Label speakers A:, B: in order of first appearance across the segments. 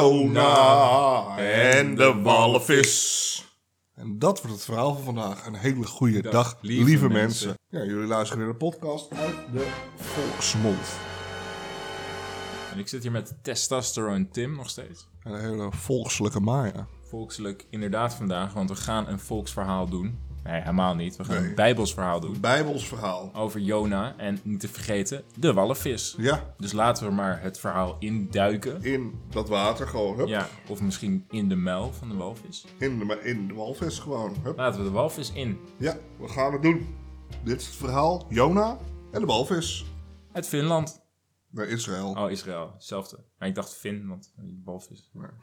A: Jona en de walvis.
B: En dat wordt het verhaal van vandaag. Een hele goede dag, lieve,
A: lieve
B: mensen.
A: mensen.
B: Ja, jullie luisteren weer de podcast uit de volksmond.
A: En ik zit hier met testosterone Tim nog steeds.
B: Een hele volkselijke Maya.
A: Volkselijk inderdaad vandaag, want we gaan een volksverhaal doen. Nee, helemaal niet. We gaan
B: Nee.
A: een bijbels verhaal doen.
B: Bijbels verhaal.
A: Over Jona en niet te vergeten, de walvis.
B: Ja,
A: Dus laten we maar het verhaal induiken.
B: in dat water gewoon. Hup.
A: Ja, of misschien in de muil van de walvis.
B: In, de, maar in de walvis gewoon. Hup.
A: Laten we de walvis in.
B: Ja, we gaan het doen. Dit is het verhaal. Jona en de walvis.
A: Uit Finland.
B: Naar Israël.
A: Oh, Israël. Hetzelfde. Maar ik dacht Fin, want die walvis. Maar...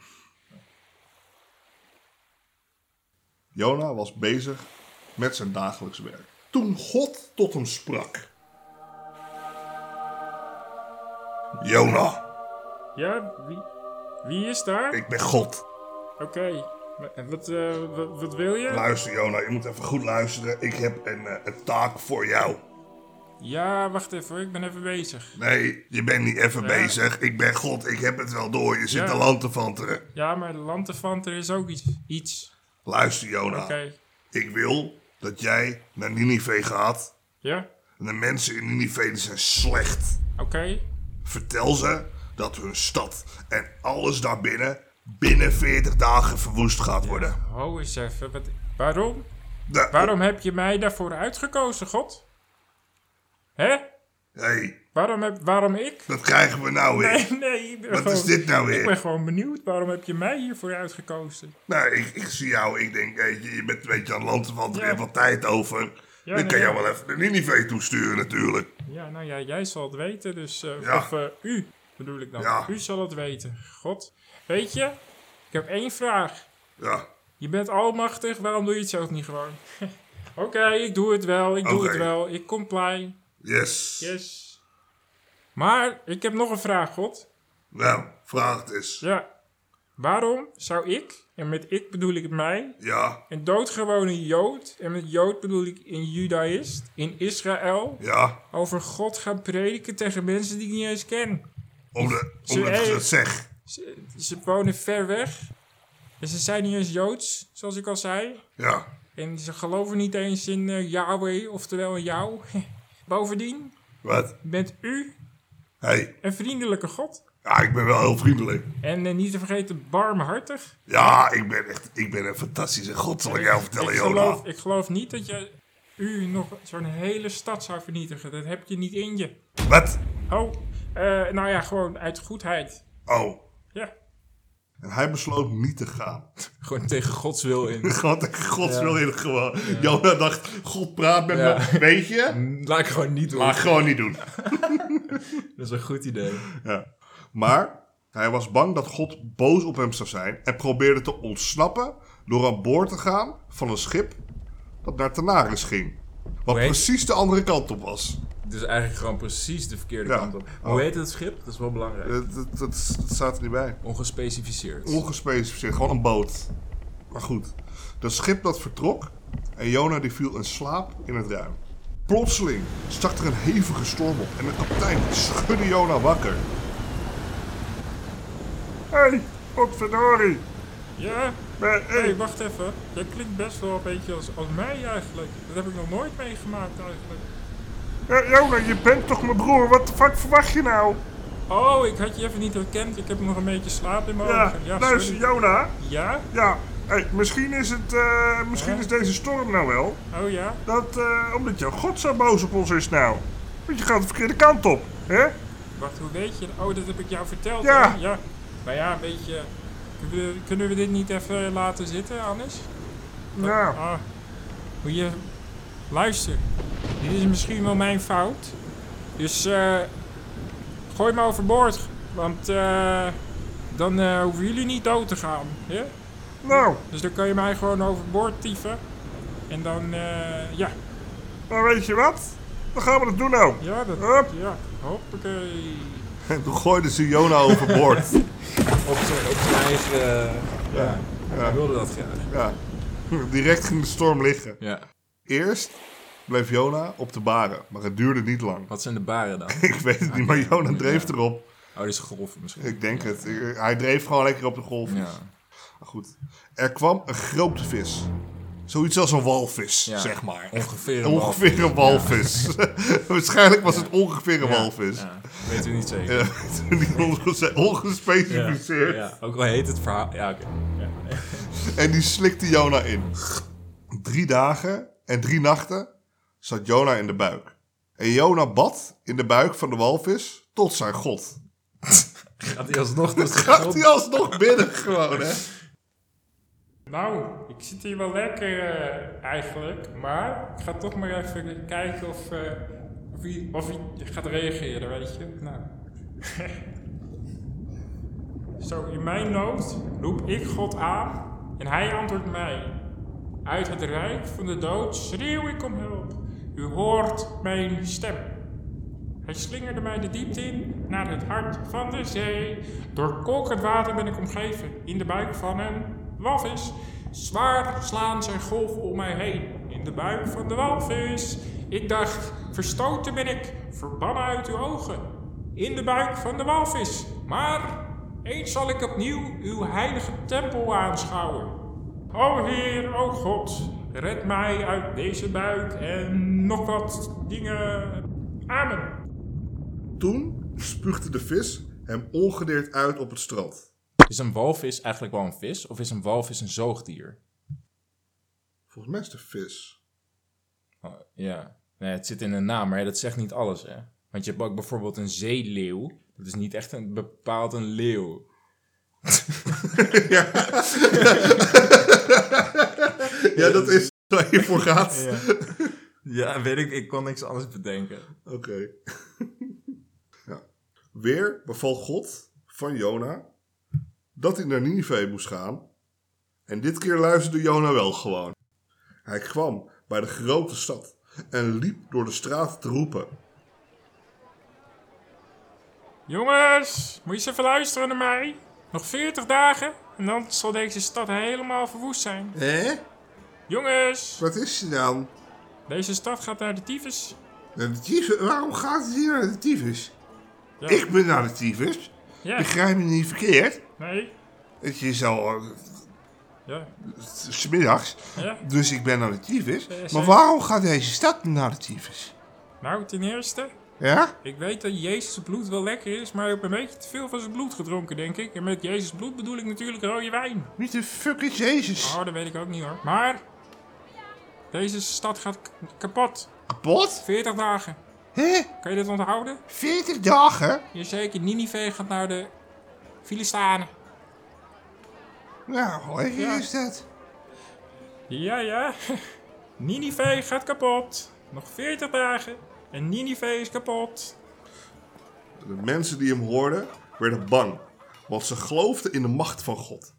B: Jona was bezig met zijn dagelijks werk. Toen God tot hem sprak. Jona,
C: Ja, wie, wie is daar?
B: ik ben God.
C: Oké. En Wat, eh, wat, wat wil je?
B: Luister Jona, je moet even goed luisteren. Ik heb een, eh, een taak voor jou.
C: Ja, wacht even, hoor, ik ben even bezig.
B: Nee, je bent niet even bezig. Ik ben God, ik heb het wel door. Je zit
C: Ja.
B: te land te vanteren.
C: Ja, maar de lantefanter is ook iets. Iets.
B: Luister Jona,
C: Oké.
B: ik wil dat jij naar Ninive gaat.
C: Ja?
B: En de mensen in Ninive die zijn slecht.
C: Oké.
B: Vertel ze dat hun stad en alles daarbinnen binnen 40 dagen verwoest gaat worden.
C: Ho eens even. Wat, waarom?
B: De-
C: Waarom heb je mij daarvoor uitgekozen, God? Hè?
B: hey,
C: Waarom, heb, waarom ik?
B: dat krijgen we nou weer.
C: Nee, nee. Ik ben
B: Wat
C: gewoon,
B: is dit nou
C: Ik ben
B: weer?
C: gewoon benieuwd. Waarom heb je mij hiervoor uitgekozen?
B: Nou, ik, ik zie jou. Ik denk, hey, je je bent een beetje aan het land, want er
C: Ja.
B: is wat tijd over.
C: Ja,
B: Dan
C: nee,
B: kan je
C: ja.
B: wel even naar Ninive toesturen natuurlijk.
C: Ja, nou ja, jij zal het weten, dus... eh,
B: Ja.
C: Of eh, u, bedoel ik dan.
B: Ja.
C: U zal het weten. God. Weet je, ik heb één vraag.
B: Ja,
C: Je bent almachtig, waarom doe je het zelf niet gewoon? Oké, ik doe het wel, ik doe
B: Oké.
C: het wel. Ik comply.
B: yes.
C: Yes. Maar, ik heb nog een vraag, God.
B: Nou, vraag het eens.
C: Ja. Waarom zou ik, en met ik bedoel ik mij,
B: Ja,
C: een doodgewone Jood, en met Jood bedoel ik een Judaïst, in Israël,
B: ja.
C: over God gaan prediken tegen mensen die ik niet eens ken?
B: Omdat,
C: Ze-
B: omdat ik
C: hey.
B: dat zeg.
C: Ze, ze wonen ver weg. En ze zijn niet eens Joods, zoals ik al zei.
B: Ja.
C: En ze geloven niet eens in eh, Yahweh, oftewel in jou. Bovendien
B: Wat?
C: bent u
B: hey.
C: een vriendelijke God.
B: ja, ik ben wel heel vriendelijk.
C: En eh, niet te vergeten, barmhartig.
B: Ja, ik ben echt ik ben een fantastische god, zal ik jou vertellen,
C: ik,
B: Jona.
C: geloof, ik geloof niet dat je u nog zo'n hele stad zou vernietigen. Dat heb je niet in je.
B: Wat?
C: Oh, eh, nou ja, gewoon uit goedheid.
B: Oh.
C: Ja.
B: En hij besloot niet te gaan.
A: Gewoon tegen Gods wil in.
B: God, gods wil in gewoon. Jona dacht, God praat met
A: Ja.
B: me. Weet je?
A: Laat ik gewoon niet doen.
B: Maar gewoon niet doen.
A: Dat is een goed idee.
B: Ja. Maar hij was bang dat God boos op hem zou zijn en probeerde te ontsnappen door aan boord te gaan van een schip dat naar Tanaris ging. Wat
A: Hoe heet-
B: precies de andere kant op was.
A: Dus eigenlijk gewoon precies de verkeerde
B: Ja.
A: kant op.
B: Oh.
A: Hoe heet het schip? Dat is wel belangrijk.
B: Dat, Eh, dat, dat, dat staat er niet bij.
A: Ongespecificeerd.
B: Ongespecificeerd, gewoon een boot. Maar goed, dat schip dat vertrok en Jona die viel in slaap in het ruim. Plotseling stak er een hevige storm op en de kapitein schudde Jona wakker. Hé, hey, potverdorie.
C: Ja.
B: Ben-
C: Hé,
B: hey.
C: wacht even. Jij klinkt best wel een beetje als, als mij eigenlijk. Dat heb ik nog nooit meegemaakt eigenlijk.
B: Eh, Jona, je bent toch mijn broer? Wat de fuck verwacht je nou?
C: Oh, ik had je even niet herkend. Ik heb nog een beetje slaap in mijn
B: Ja,
C: ogen. Oh, Ja,
B: luister,
C: sorry.
B: Jona.
C: Ja?
B: Ja, hey, misschien is het, eh, misschien
C: Ja?
B: is deze storm nou wel.
C: Oh ja?
B: Dat, eh, omdat jouw god zo boos op ons is nou. Want je gaat de verkeerde kant op, hè?
C: Wacht, hoe weet je? Oh, dat heb ik jou verteld.
B: Ja.
C: hè? ja. Maar ja, weet je... kunnen we- Kunnen we dit niet even laten zitten, anders?
B: Ja.
C: Ah. Moet je... Luister. Dit is misschien wel mijn fout. Dus, eh... gooi me overboord. Want, eh... Dan eh, hoeven jullie niet dood te gaan. Hè?
B: Nou,
C: Dus dan kan je mij gewoon overboord tieven. En dan, eh... Ja.
B: maar nou weet je wat? Dan gaan we dat doen nou.
C: Ja, dat...
B: Hup.
C: Ja. Hoppakee.
B: En toen gooiden ze Jona overboord.
A: Op zijn, op zijn eigen... eh, ja. Hij wilde dat graag.
B: ja. Direct ging de storm liggen.
A: Ja.
B: Eerst bleef Jona op de baren, maar het duurde niet lang.
A: Wat zijn de baren dan?
B: Ik weet het niet, maar Jona dreef erop.
A: Oh, dit is golf misschien.
B: Ik denk het. Ik- Hij dreef gewoon lekker op de golf.
A: Ja.
B: Maar goed. Er kwam een grote vis. Zoiets als een walvis,
A: Ja.
B: zeg maar.
A: Ongeveer een
B: Ongeveer een walvis. Waarschijnlijk was het ongeveer een
A: Ja,
B: walvis.
A: Ja, weet u niet zeker.
B: Eh, die golven zijn
A: Ja,
B: Ongespecificeerd.
A: ja. Ook al heet het verhaal. Ja, oké. Ja.
B: En die slikte Jona in. Drie dagen en drie nachten zat Jona in de buik. En Jona bad in de buik van de walvis tot zijn god.
A: Gaat hij alsnog dus
B: Gaat hij alsnog binnen gewoon, hè?
C: Nou, ik zit hier wel lekker eh, eigenlijk, maar ik ga toch maar even kijken of, eh, of, hij, of hij gaat reageren, weet je. Nou. Zo, in mijn nood roep ik God aan en hij antwoordt mij. Uit het rijk van de dood schreeuw ik om hulp. U hoort mijn stem. Hij slingerde mij de diepte in, naar het hart van de zee. Door kokend water ben ik omgeven, in de buik van een walvis. Zwaar slaan zijn golven om mij heen, in de buik van de walvis. Ik dacht, verstoten ben ik, verbannen uit uw ogen, in de buik van de walvis. Maar eens zal ik opnieuw uw heilige tempel aanschouwen. O Heer, o God, red mij uit deze buik en nog wat dingen. Amen.
B: Toen spuugde de vis hem ongedeerd uit op het strand.
A: Is een walvis eigenlijk wel een vis? Of is een walvis een zoogdier?
B: Volgens mij is de vis.
A: Oh, ja. Nee, het zit in de naam, maar dat zegt niet alles, hè? Want je hebt ook bijvoorbeeld een zeeleeuw. Dat is niet echt een, bepaald een leeuw.
B: Ja, dat is waar je voor gaat.
A: Ja, weet ik. Ik kon niks anders bedenken.
B: Oké. ja. Weer beval God van Jona dat hij naar Nineveh moest gaan. En dit keer luisterde Jona wel gewoon. Hij kwam bij de grote stad en liep door de straat te roepen.
C: Jongens, moet je eens even luisteren naar mij? Nog 40 dagen en dan zal deze stad helemaal verwoest zijn.
B: Hé?
C: Jongens,
B: Wat is je dan?
C: deze stad gaat naar de tyfus.
B: de tyfus? Waarom gaat hij hier naar de tyfus?
C: Ja.
B: Ik ben naar de tyfus.
C: Ja,
B: Begrijp me niet verkeerd.
C: nee,
B: Het is al eh,
C: ja,
B: smiddags,
C: ja.
B: dus ik ben naar de tyfus.
C: Eh,
B: Maar
C: zei-
B: waarom gaat deze stad naar de tyfus?
C: Nou, ten eerste,
B: Ja?
C: ik weet dat Jezus' bloed wel lekker is, maar ik heb een beetje te veel van zijn bloed gedronken, denk ik. En met Jezus' bloed bedoel ik natuurlijk rode wijn.
B: Wie de fuck is Jezus?
C: Oh, dat weet ik ook niet hoor. Maar deze stad gaat k- kapot.
B: Kapot?
C: 40 dagen.
B: Hé?
C: Kan je dat onthouden?
B: 40 dagen?
C: Jazeker, Nineveh gaat naar de Filistanen.
B: Nou, lekker
C: Ja.
B: is dat.
C: Ja, ja. Nineveh gaat kapot. Nog 40 dagen. En Nineveh is kapot.
B: De mensen die hem hoorden werden bang, want ze geloofden in de macht van God.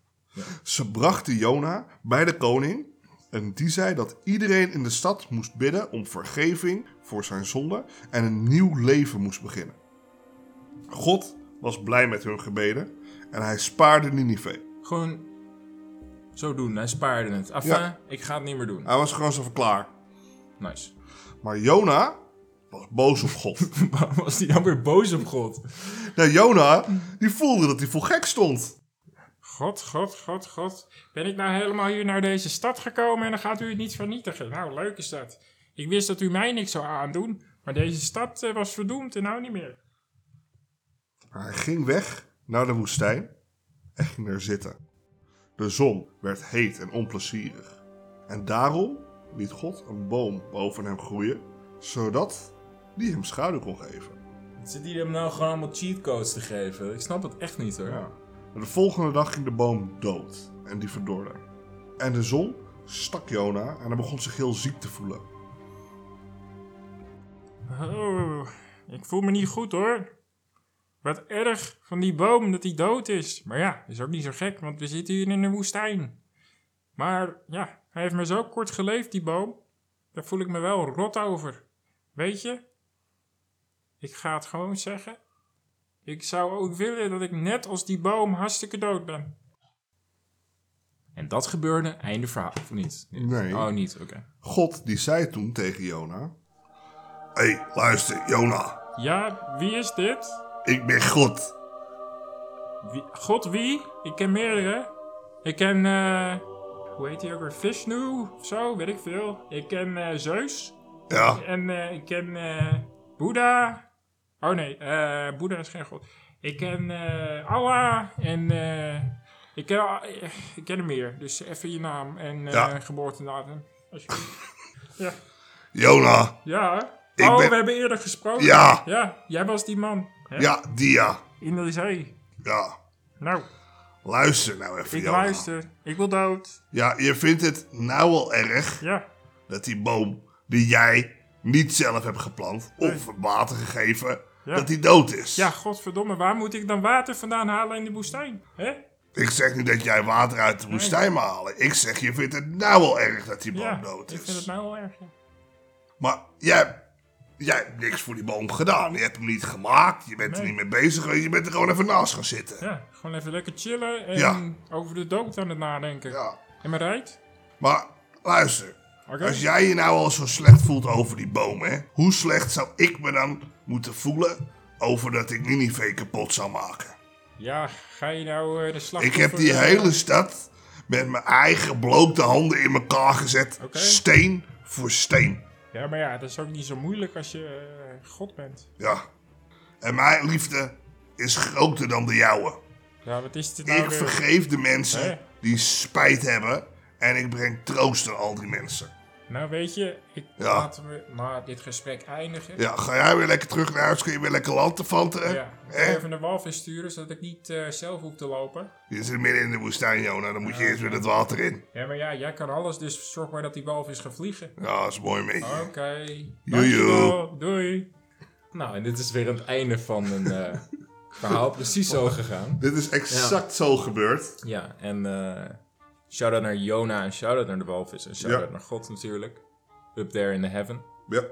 B: Ze brachten Jona bij de koning en die zei dat iedereen in de stad moest bidden om vergeving voor zijn zonde en een nieuw leven moest beginnen. God was blij met hun gebeden en hij spaarde Nineveh.
A: Gewoon zo doen. Hij spaarde het. Enfin,
B: Ja.
A: ik ga het niet meer doen.
B: Hij was gewoon zo van klaar.
A: Nice.
B: Maar Jona was boos op God.
A: Waarom was hij dan weer boos op God?
B: Nou, Jona, die voelde dat hij voor gek stond.
C: God, god, god, god. Ben ik nou helemaal hier naar deze stad gekomen en dan gaat u het niet vernietigen? Nou, leuk is dat. Ik wist dat u mij niks zou aandoen, maar deze stad eh, was verdoemd en nou niet meer.
B: Maar hij ging weg naar de woestijn en ging daar zitten. De zon werd heet en onplezierig. En daarom liet God een boom boven hem groeien, zodat die hem schaduw kon geven.
A: Zit hij hem nou gewoon allemaal cheatcodes te geven? Ik snap het echt niet hoor.
B: Ja. En de volgende dag ging de boom dood en die verdorde. En de zon stak Jona en hij begon zich heel ziek te voelen.
C: Oh, ik voel me niet goed hoor. Wat erg van die boom dat hij dood is. Maar ja, is ook niet zo gek, want we zitten hier in een woestijn. Maar ja, hij heeft maar zo kort geleefd, die boom. Daar voel ik me wel rot over. Weet je, ik ga het gewoon zeggen. Ik zou ook willen dat ik net als die boom hartstikke dood ben.
A: En dat gebeurde, einde verhaal, of niet?
B: Nee.
A: Oh, niet, oké.
B: God die zei toen tegen Jona... Hé, hey, luister, Jona,
C: Ja, wie is dit?
B: ik ben God.
C: Wie, God wie? Ik ken meerdere. Ik ken, eh. hoe heet hij ook weer? Vishnu of zo, weet ik veel. Ik ken eh, Zeus.
B: Ja,
C: En eh, ik ken eh, Boeddha. Oh nee, eh, Boeddha is geen god. Ik ken eh, Allah en eh, ik, ken, al- eh, ik ken er meer. Dus even je naam en eh
B: Ja.
C: geboortedatum. alsjeblieft. ja.
B: Jona.
C: ja.
B: Ik
C: oh,
B: ben-
C: we hebben eerder gesproken.
B: Ja.
C: Ja, jij was die man. Hè?
B: Ja, Dia.
C: In de zee.
B: Ja,
C: Nou,
B: luister nou even,
C: ik
B: Jona.
C: luister. Ik wil dood.
B: Ja, je vindt het nou al erg
C: Ja.
B: dat die boom die jij niet zelf hebt geplant of water gegeven,
C: Ja.
B: dat die dood is.
C: Ja, godverdomme, waar moet ik dan water vandaan halen in de woestijn? Hè?
B: Ik zeg niet dat jij water uit de woestijn mag halen. Ik zeg, je vindt het nou al erg dat die boom
C: Ja,
B: dood
C: ik
B: is.
C: vind het nou wel erg. ja.
B: Maar jij, jij hebt niks voor die boom gedaan. Je hebt hem niet gemaakt, je bent er
C: Nee.
B: niet mee bezig geweest, je bent er gewoon even naast gaan zitten.
C: Ja, gewoon even lekker chillen en
B: Ja.
C: over de dood aan het nadenken.
B: Ja.
C: En maar rijdt?
B: Maar luister,
C: Oké.
B: als jij je nou al zo slecht voelt over die boom, hè, hoe slecht zou ik me dan moeten voelen over dat ik Ninive kapot zou maken?
C: Ja, ga je nou eh, de slag...
B: Ik heb die hele stad met mijn eigen blote handen in elkaar gezet,
C: Oké.
B: steen voor steen.
C: Ja, maar ja, dat is ook niet zo moeilijk als je eh, God bent.
B: Ja. En mijn liefde is groter dan de jouwe.
C: Ja, wat is dit nou
B: Ik
C: weer?
B: vergeef de mensen
C: Hè?
B: die spijt hebben en ik breng troost aan al die mensen.
C: Nou, weet je, ik...
B: Ja.
C: laten we maar dit gesprek eindigen.
B: Ja, ga jij weer lekker terug naar huis, kun je weer lekker lantefanten.
C: Ja, ik ga
B: hè?
C: even de walvis sturen, zodat ik niet eh, zelf hoef te lopen.
B: Je zit midden in de woestijn, Jona, dan moet je eerst weer het water in.
C: Ja, maar ja, jij kan alles, dus zorg maar dat die walvis gaat vliegen.
B: Ja, dat is mooi mee.
C: Oké,
B: Joejoe.
C: dankjewel, doei.
A: Nou, en dit is weer het einde van een eh, verhaal. Precies zo gegaan.
B: Dit is exact zo gebeurd.
A: Ja, en eh shout-out naar Jona en shout-out naar de walvis. En shout-out
B: Ja.
A: naar God natuurlijk. Up there in the heaven.
B: Ja.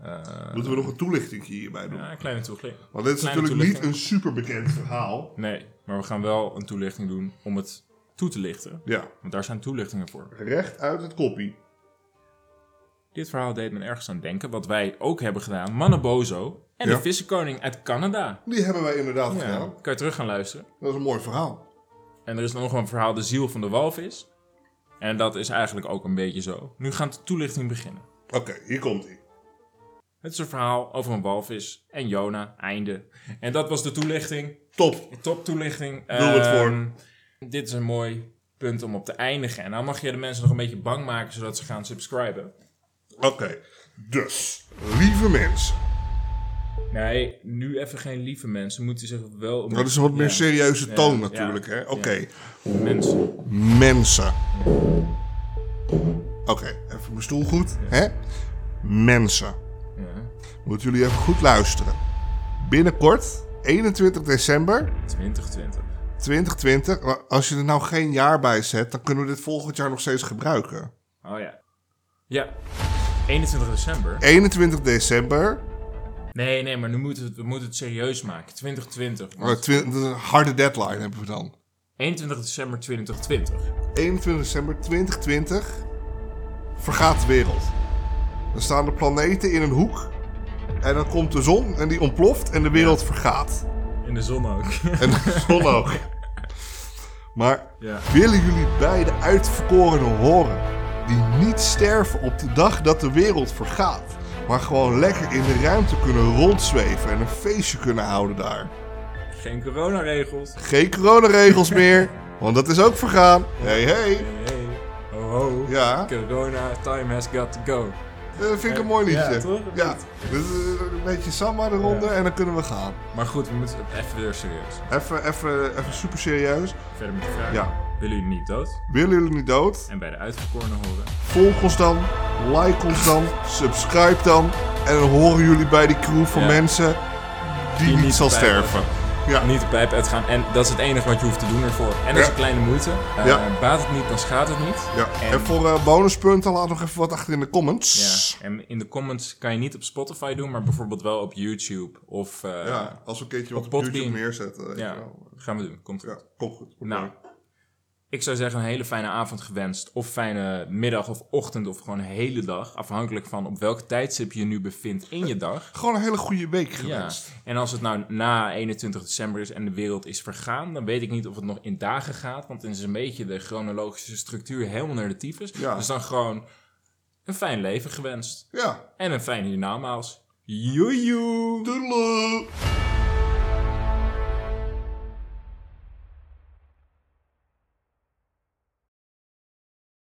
A: Eh,
B: Moeten we nog een toelichting hierbij doen?
A: ja, Ah, een kleine toelichting.
B: Want dit is
A: Kleine
B: natuurlijk niet
A: toelichting.
B: een superbekend verhaal.
A: Nee, maar we gaan wel een toelichting doen om het toe te lichten.
B: Ja,
A: Want daar zijn toelichtingen voor.
B: recht uit het koppie.
A: Dit verhaal deed me ergens aan denken, wat wij ook hebben gedaan. Mannebozo en
B: Ja.
A: de vissenkoning uit Canada.
B: Die hebben wij inderdaad
A: Ja,
B: gedaan.
A: kan je terug gaan luisteren.
B: Dat is een mooi verhaal.
A: En er is nog een verhaal, de ziel van de walvis. En dat is eigenlijk ook een beetje zo. Nu gaat de toelichting beginnen.
B: Oké, hier komt hij.
A: Het is een verhaal over een walvis en Jona, einde. En dat was de toelichting.
B: Top.
A: Top toelichting. Doe
B: het voor.
A: Ehm. Dit is een mooi punt om op te eindigen. En dan mag je de mensen nog een beetje bang maken, zodat ze gaan subscriben.
B: Oké, dus, lieve mensen.
A: Nee, nu even geen lieve mensen. Moeten zich wel...
B: Dat is een wat meer
A: Ja.
B: serieuze toon
A: Ja,
B: natuurlijk,
A: ja,
B: hè? Oké,
A: Mensen.
B: mensen. Oké, even mijn stoel goed, hè? Mensen.
A: Ja.
B: Moeten jullie even goed luisteren. Binnenkort, 21 december
A: 2020.
B: 2020. maar Als je er nou geen jaar bij zet, dan kunnen we dit volgend jaar nog steeds gebruiken.
A: Oh ja. Ja. 21 december.
B: 21 december.
A: Nee, nee, maar nu moeten we het, we moeten het serieus maken. 2020.
B: oh,
A: want
B: twi- dat is een harde deadline hebben we dan.
A: 21 december 2020.
B: 21 december 2020 vergaat de wereld. Dan staan de planeten in een hoek. En dan komt de zon en die ontploft en de wereld vergaat.
A: In de zon ook.
B: En de zon ook. Maar
A: Ja.
B: willen jullie beide uitverkorenen horen? Die niet sterven op de dag dat de wereld vergaat. Maar gewoon lekker in de ruimte kunnen rondzweven en een feestje kunnen houden daar.
A: Geen coronaregels.
B: Geen coronaregels meer, want dat is ook vergaan. Hey hey.
A: Hey, ho ho.
B: Ja.
A: Corona, time has got to go.
B: Eh, vind ik een mooi liedje.
A: Ja, toch?
B: Ja. Dus, eh, een beetje samba eronder en dan kunnen we gaan.
A: Maar goed, we moeten het even weer serieus.
B: Even, even, even super serieus.
A: Verder met de vraag.
B: Ja.
A: Willen jullie niet dood?
B: Willen jullie niet dood?
A: En bij de uitverkorenen horen.
B: Volg ons dan, like ons dan, subscribe dan. En dan horen jullie bij die crew van
A: Ja.
B: mensen die, niet,
A: niet
B: zal
A: bij-
B: sterven. Ja.
A: Niet de pijp uitgaan. En dat is het enige wat je hoeft te doen ervoor. En dat is
B: Ja.
A: een kleine moeite. Eh,
B: Ja.
A: Baat het niet, dan schaadt het niet.
B: Ja. En, voor eh, bonuspunten laat nog even wat achter in de comments.
A: Ja, en in de comments kan je niet op Spotify doen, maar bijvoorbeeld wel op YouTube. Of eh,
B: Ja, als we een keertje wat
A: Op
B: op
A: Podbean.
B: YouTube neerzetten. weet je
A: ja,
B: wel.
A: gaan we doen. Komt goed.
B: ja, kom goed.
A: Nou, Ik zou zeggen een hele fijne avond gewenst. Of fijne middag of ochtend of gewoon een hele dag. Afhankelijk van op welk tijdstip je je nu bevindt in je dag.
B: Gewoon een hele goede week
A: Ja.
B: gewenst.
A: En als het nou na 21 december is en de wereld is vergaan, dan weet ik niet of het nog in dagen gaat. Want dan is een beetje de chronologische structuur helemaal naar de tyfus.
B: Ja.
A: Dus dan gewoon een fijn leven gewenst.
B: Ja.
A: En een fijne hiernamaals. Joejoe!
B: Doedelen.